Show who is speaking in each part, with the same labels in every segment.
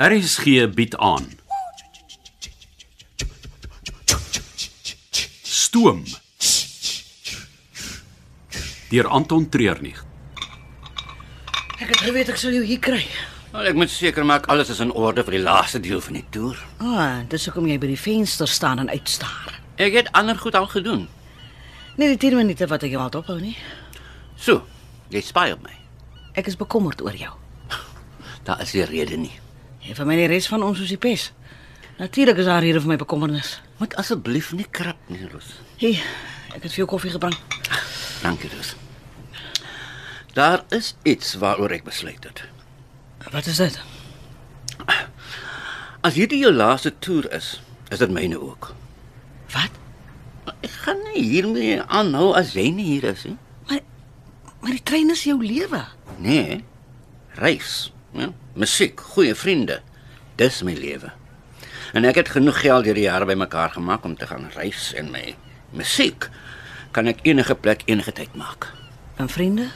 Speaker 1: RSG bied aan. Stoom. Deur Anton Treurnig.
Speaker 2: Ek het geweet ek sal jou hier kry.
Speaker 3: Wel, Nou, ek moet seker maak alles is in orde vir die laaste deel van die toer.
Speaker 2: Ah, dis hoekom jy by die venster staan en uitstaar.
Speaker 3: Ek het ander goed al gedoen.
Speaker 2: Nie die 10 minute wat ek jou laat ophou nie.
Speaker 3: So, jy spy op my.
Speaker 2: Ek is bekommerd oor jou.
Speaker 3: Daar is nie rede nie.
Speaker 2: Jy vir my die res van ons soos die pes. Natuurlik is daar hier vir my bekommernis.
Speaker 3: Moet asseblief nie krap nie, Roos.
Speaker 2: Hey, ek het vir jou koffie gebring.
Speaker 3: Dankie, Roos. Daar is iets waaroor ek besluit het.
Speaker 2: Wat is dit?
Speaker 3: As hierdie jou laaste toer is, is dit myne ook.
Speaker 2: Wat?
Speaker 3: Ek gaan nie hiermee aanhou as jy nie hier is nie.
Speaker 2: Maar maar die trein is jou lewe.
Speaker 3: Nee. Reis, ja? musiek, goeie vriende. Dis my lewe. En ek het genoeg geld hierdie jare bymekaar gemaak om te gaan reis en my musiek kan ek enige plek enige tyd maak.
Speaker 2: En vriende?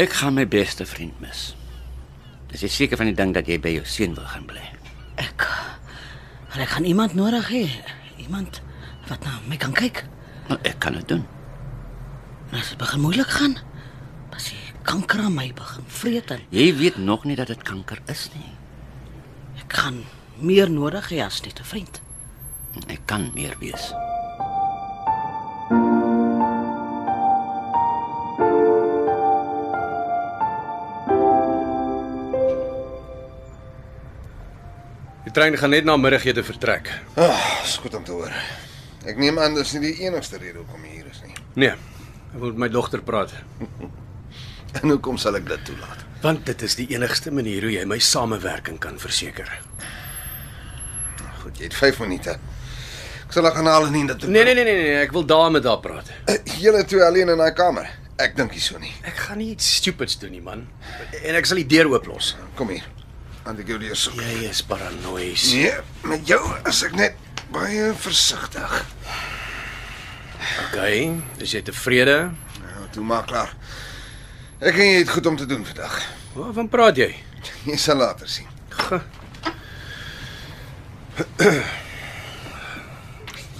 Speaker 3: Ek gaan my beste vriend mis. Dis jy seker van die ding dat jy by jou seun wil gaan bly.
Speaker 2: Ek maar ek gaan iemand nodig hê. Iemand wat na my kan kyk.
Speaker 3: Maar Nou, ek kan dit doen.
Speaker 2: En As dit begin moeilik gaan, as jy kanker aan my begin vreet en
Speaker 3: Jy weet nog nie dat dit kanker is nie.
Speaker 2: ek gaan meer nodig hê as net 'n vriend.
Speaker 3: Ek kan meer wees.
Speaker 4: Die trein gaan net na middagete vertrek.
Speaker 5: Ah, is goed om te hoor. Ek neem aan dis nie die enigste rede hoekom jy hier is nie.
Speaker 4: Nee, ek moet met my dogter praat.
Speaker 5: En hoekom sal ek dit toelaat?
Speaker 4: Want dit is die enigste manier hoe jy my samewerking kan verseker.
Speaker 5: Goed, jy het 5 minute. Ek sal haar gaan haal en in dit.
Speaker 4: Nee nee nee nee, nee ek wil daar met haar praat.
Speaker 5: Eh, Julle twee alleen in daai kamer. Ek dink nie so nie.
Speaker 4: Ek gaan nie iets stupids doen nie, man. En ek sal die deur ooplos.
Speaker 5: Kom hier. Want ek jou leer soek.
Speaker 4: Jy is paranoïes.
Speaker 5: Nee, met jou is ek net baie versigtig.
Speaker 4: Okay, is jy tevrede?
Speaker 5: Nou, toe maak klaar. Ek en jy het goed om te doen vandag.
Speaker 4: Waarvan praat jy?
Speaker 5: Jy sal later sien.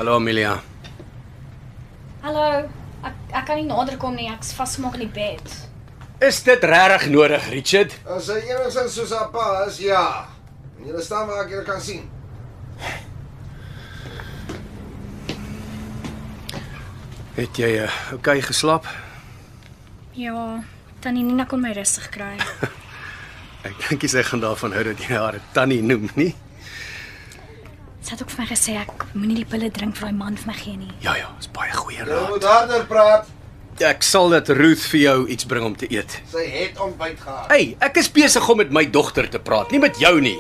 Speaker 4: Hallo Amelia.
Speaker 6: Hallo. Ek ek kan nie nader kom nie. Ek's vasgemaak in die bed.
Speaker 4: Is dit regtig nodig, Richard?
Speaker 5: As hy enigstens soos haar pa is, ja. En jy staan waar ek julle kan sien.
Speaker 4: Het jy uh, okay geslaap?
Speaker 6: Ja, tannie Nina kon my rustig kry.
Speaker 4: Ek dink jy sy gaan daarvan hou dat jy haar 'n tannie noem, nie?
Speaker 6: Sy het ook vir my gesê ek moenie die pille drink vir daai man vir my gee nie.
Speaker 4: Ja ja, is baie goeie
Speaker 5: Jy
Speaker 4: raad.
Speaker 5: Nou, moet harder praat.
Speaker 4: Ek sal dat Ruth vir jou iets bring om te eet.
Speaker 5: Sy het ontbyt gehad.
Speaker 4: Hey, ek is besig om met my dogter te praat, nie met jou nie.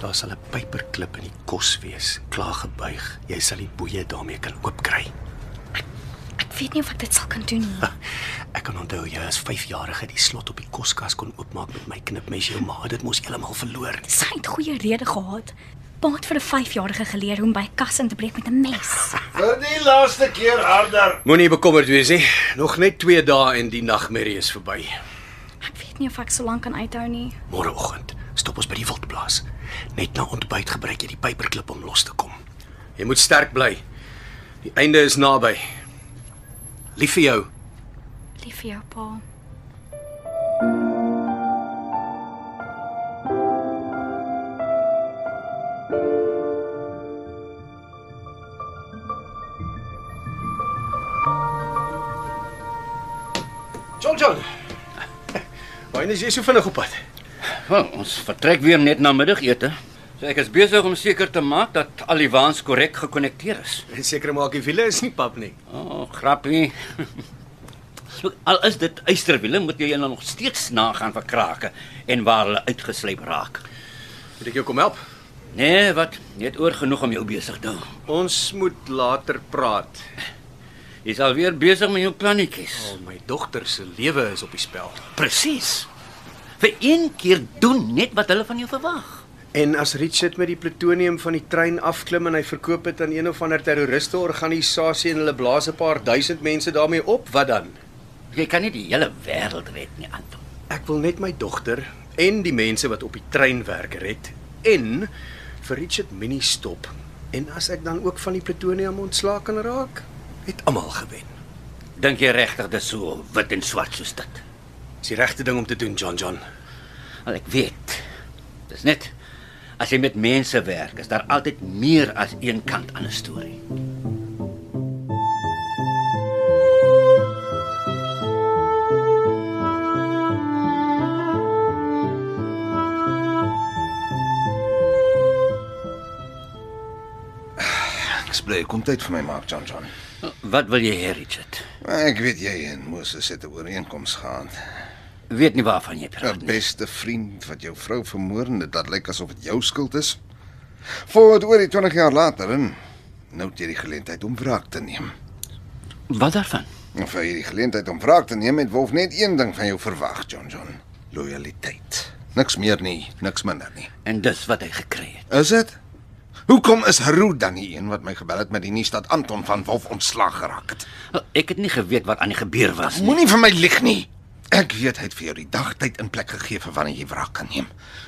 Speaker 4: Daar sal 'n pyperklip in die kos wees, klaar gebuig. Jy sal die boeie daarmee kan oopkry.
Speaker 6: Ek weet nie of ek dit sal kan doen nie.
Speaker 4: Ek kan onthou jy as 5-jarige die slot op die koskas kon oopmaak met my knipmes. Jou ma het dit mos heeltemal verloor.
Speaker 6: Sy het goeie rede gehad. Pa het vir 'n 5-jarige geleer hoe om by 'n kas in te breek met 'n mes.
Speaker 5: Vir die laaste keer harder.
Speaker 4: Moenie bekommerd wees nie. Nog net 2 dae en die nagmerrie is verby.
Speaker 6: Ek weet nie of ek so lank kan uithou nie.
Speaker 4: Môreoggend stop ons by die wildplaas. Net na ontbyt gebruik jy die pyperklip om los te kom. Jy moet sterk bly. Die einde is naby. Lief vir jou.
Speaker 6: Lief vir jou, pa.
Speaker 4: John John. Waarheen is jy so vinnig op pad?
Speaker 3: Wel, ons vertrek weer net na middagete. So ek is besig om seker te maak dat al die waans korrek gekonnekteer is.
Speaker 4: Seker maak die wiele is nie pap nie.
Speaker 3: O, oh, grappie. So, al is dit eysterwiele, moet jy hulle nog steeds nagaan vir krake en waar hulle uitgeslyp raak.
Speaker 4: Moet ek jou kom help?
Speaker 3: Nee, wat? Jy het oor genoeg om jou besig te hou.
Speaker 4: Ons moet later praat.
Speaker 3: Jy's alweer besig met jou plannetjies.
Speaker 4: Al Oh, my dogter se lewe is op die spel.
Speaker 3: Presies. Vir een keer doen net wat hulle van jou verwag.
Speaker 4: En as Richard met die plutonium van die trein afklim en hy verkoop dit aan een of ander terroriste organisasie en hulle blaas 'n paar duisend mense daarmee op, wat dan?
Speaker 3: Jy kan nie die hele wêreld red nie, Anton.
Speaker 4: Ek wil net my dogter en die mense wat op die trein werk red en vir Richard Minnie stop. En as ek dan ook van die plutonium ontslae kan raak, het almal gewen.
Speaker 3: Dink jy regtig dis so wit en swart soos dit?
Speaker 4: Dis die regte ding om te doen, John John.
Speaker 3: Al ek weet. Dis net as jy met mense werk, is daar altyd meer as een kant aan 'n storie.
Speaker 5: Ek bly kom tyd vir my maak, John John.
Speaker 3: Wat wil jy hê, Richard?
Speaker 5: Ek weet jy en Moses het 'n ooreenkoms gehad.
Speaker 3: Weet nie waarvan jy praat
Speaker 2: Ja,
Speaker 5: Jou
Speaker 3: nie.
Speaker 5: beste vriend wat jou vrou vermoor en dit laat lyk asof dit jou skuld is. Voor oor die 20 jaar later en nou het jy die geleentheid om wraak te neem.
Speaker 3: Wat daarvan?
Speaker 5: En vir hierdie geleentheid om wraak te neem, het Wolf net een ding van jou verwag, John John: loyaliteit. Niks meer nie, niks minder nie.
Speaker 3: En dis wat hy gekry het.
Speaker 5: Is dit? Hoekom is Harold dan die een wat my gebel het met die nuus dat Anton van Wolf ontslaag geraak het?
Speaker 3: Wel, Ek het nie geweet wat aan die gebeur was nie.
Speaker 5: Moenie vir my lieg nie. Ek weet hy het vir jou die dagtyd in plek gegee vir wanneer jy wraak kan neem.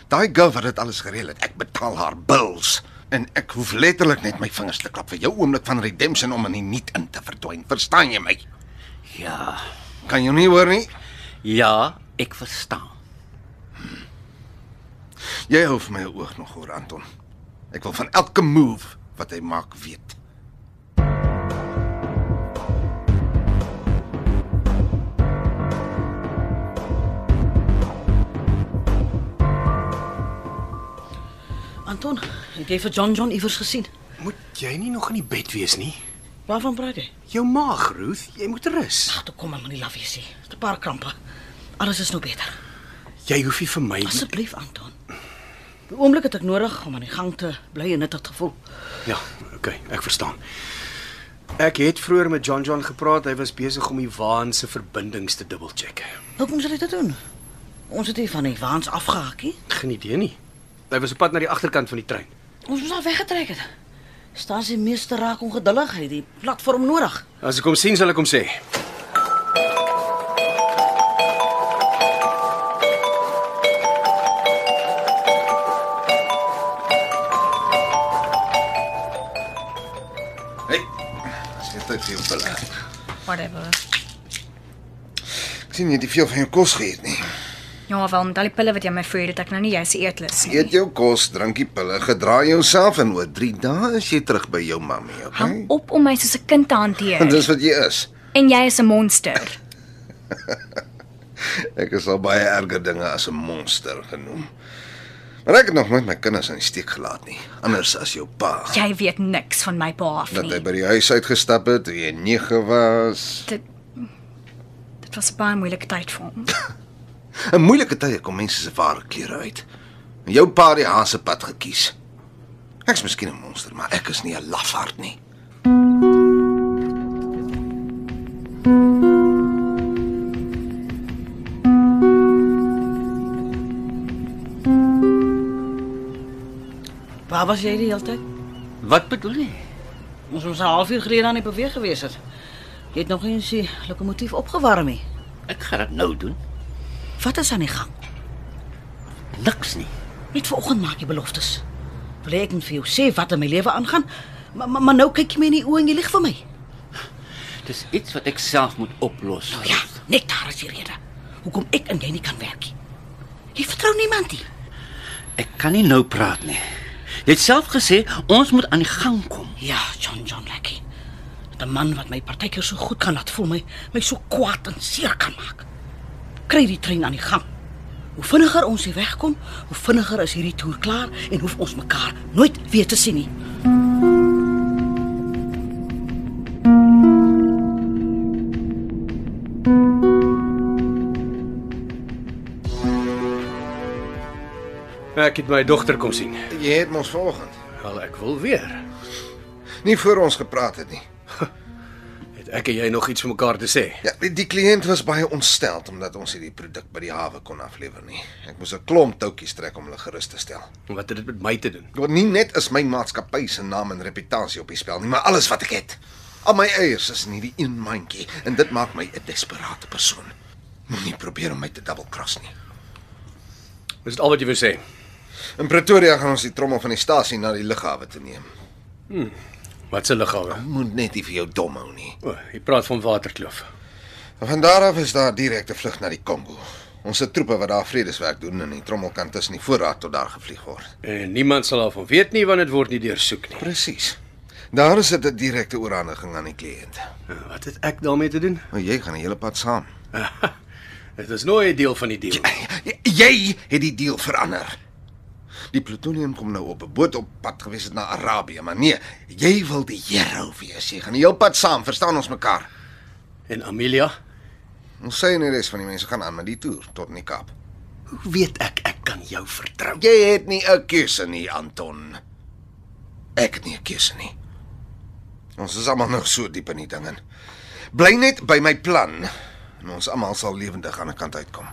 Speaker 5: Daai girl wat dit alles gereël het, ek betaal haar bills en ek hoef letterlik net my vingers te klap vir jou oomblik van redemption om in die niet in te verdwyn. Verstaan jy my?
Speaker 3: Ja.
Speaker 5: Kan jy nie hoor nie?
Speaker 3: Ja, ek verstaan.
Speaker 5: Jy hou vir my 'n oog nog oor Anton. Ek wil van elke move wat hy maak weet.
Speaker 2: Anton, het jy vir John John iewers gesien?
Speaker 4: Moet jy nie nog in die bed wees nie.
Speaker 2: Waarvan praat jy?
Speaker 4: Jou maag, Ruth, jy moet rus.
Speaker 2: Ag, Ah, toe kom maar moenie laf wees nie. Dis 'n paar krampe. Alles is nou beter.
Speaker 4: Jy hoef nie vir my
Speaker 2: Asseblief, Anton. Die oomblik het ek nodig om aan die gang te bly en dit het gevoel.
Speaker 4: Ja, okay, ek verstaan. Ek het vroeër met John John gepraat. Hy was besig om die waan se verbindings te dubbelcheck.
Speaker 2: Hoe kom jy dit doen? Ons het hier van die waans afgehakkie.
Speaker 4: Geen idee nie. Hy was op pad na die agterkant van die trein.
Speaker 2: Ons moes al weggetrek het. Stasiemeester raak ongeduldig, hy het die platform nodig.
Speaker 4: As ek hom sien, sal ek hom sê.
Speaker 5: Hey, as jy tyd vir jou pille.
Speaker 6: Whatever.
Speaker 5: Ek sien jy het nie veel van jou kos geëet nie.
Speaker 6: Ja, wel met al die pille wat jy my voorheen het, ek nou nie jy se eetlus nie.
Speaker 5: Eet jou kos, drink die pille, gedra jouself en oor 3 dae is jy terug by jou mammy,
Speaker 6: Hou
Speaker 5: okay?
Speaker 6: op om my soos 'n kind te
Speaker 5: Want
Speaker 6: hanteer.
Speaker 5: dis wat jy is.
Speaker 6: En jy is 'n monster.
Speaker 5: Ek is al baie erger dinge as 'n monster genoem. Maar ek het nog nooit my kinders in die steek gelaat nie, anders as jou pa.
Speaker 6: Jy weet niks van my pa af
Speaker 5: Dat hy
Speaker 6: nie.
Speaker 5: by die huis uitgestap het toe jy 9 was.
Speaker 6: Dit dit was 'n baie moeilike tyd vir hom.
Speaker 5: 'n Moeilike tye kom mense se ware klere uit. En jou pa het die haase pad gekies. Ek's miskien 'n monster, maar ek is nie 'n lafaard nie.
Speaker 2: Waar was jy die hele tyd?
Speaker 3: Wat bedoel jy?
Speaker 2: Ons was 'n halfuur gelede aan die beweeg gewees het. Jy het nog nie eens die lokomotief opgewarm nie.
Speaker 3: Ek gaan dit nou doen.
Speaker 2: Wat is aan die gang?
Speaker 3: Niks nie.
Speaker 2: Net vanoggend maak jy beloftes. Wil ek moet vir jou sê wat in my lewe aangaan? Maar, maar, maar nou kyk jy my in die oë en jy lieg vir my.
Speaker 3: Dis iets wat ek self moet oplos.
Speaker 2: Nou ja, net daar is die rede. Hoekom ek en jy nie kan werk nie. Jy vertrou niemand nie.
Speaker 3: Ek kan nie nou praat nie. Jy het self gesê ons moet aan die gang kom.
Speaker 2: Ja, John John Blackie. Die man wat my partykeer so goed kan laat voel, my my so kwaad en seer kan maak. Kry die trein aan die gang. Hoe vinniger ons hier wegkom, hoe vinniger is hierdie toer klaar en hoef ons mekaar nooit weer te sien nie.
Speaker 4: Ja, Ek het my dogter kom sien.
Speaker 5: Jy het mos vanoggend
Speaker 4: Wel, ek wil weer.
Speaker 5: nie voor ons gepraat het nie.
Speaker 4: Het ek en jy nog iets vir mekaar te sê?
Speaker 5: Ja, die, die kliënt was baie ontstel omdat ons hierdie produk by die hawe kon aflewer nie. Ek moes 'n klomp toutjies trek om hulle gerus te stel.
Speaker 4: Wat het dit met my te doen?
Speaker 5: Want nie net is my maatskappy se naam en reputasie op die spel nie, maar alles wat ek het. Al my eiers is in hierdie een mandjie en dit maak my 'n desperaatte persoon. Moenie probeer om my te dubbelkras nie.
Speaker 4: Dis dit al wat jy wou sê.
Speaker 5: In Pretoria gaan ons die trommel van die stasie na die lughawe te neem.
Speaker 4: Wat se liggawe?
Speaker 5: Moet net nie vir jou dom hou nie.
Speaker 4: O, jy praat van Waterkloof.
Speaker 5: Van daar af is daar direkte vlug na die Kongo. Ons se troepe wat daar vredeswerk doen en die trommel kan tussen die voorraad tot daar gevlieg word.
Speaker 4: En niemand sal daarvan weet nie want dit word nie deursoek nie.
Speaker 5: Presies. Daar is dit 'n direkte oorhandiging aan die kliënt.
Speaker 4: Nou, Wat het ek daarmee te doen?
Speaker 5: Maar jy gaan die hele pad saam.
Speaker 4: Dit is nooit 'n deel van die deal.
Speaker 5: J- Jy het die deal verander. Die plutonium kom nou op 'n boot op pad gewees het na Arabië, maar nee, jy wil die hero wees. Jy gaan die hele pad saam, verstaan ons mekaar.
Speaker 4: En Amelia,
Speaker 5: Ons sê en die res van die mense gaan aan met die toer tot in die Kaap.
Speaker 4: hoe weet ek ek kan jou vertrou?
Speaker 5: Jy het nie 'n keuse nie, Anton. Ek het nie 'n keuse nie. Ons is almal nog so diep in die ding in. Bly net by my plan en ons almal sal lewendig aan 'n kant uitkom.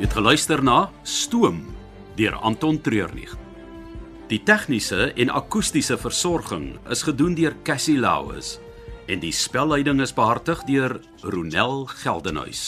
Speaker 1: Jy het geluister na Stoom deur Anton Treurnig. Die tegniese en akoestiese versorging is gedoen deur Cassie Lauis en die spelleiding is behartig deur Ronel Geldenhuys.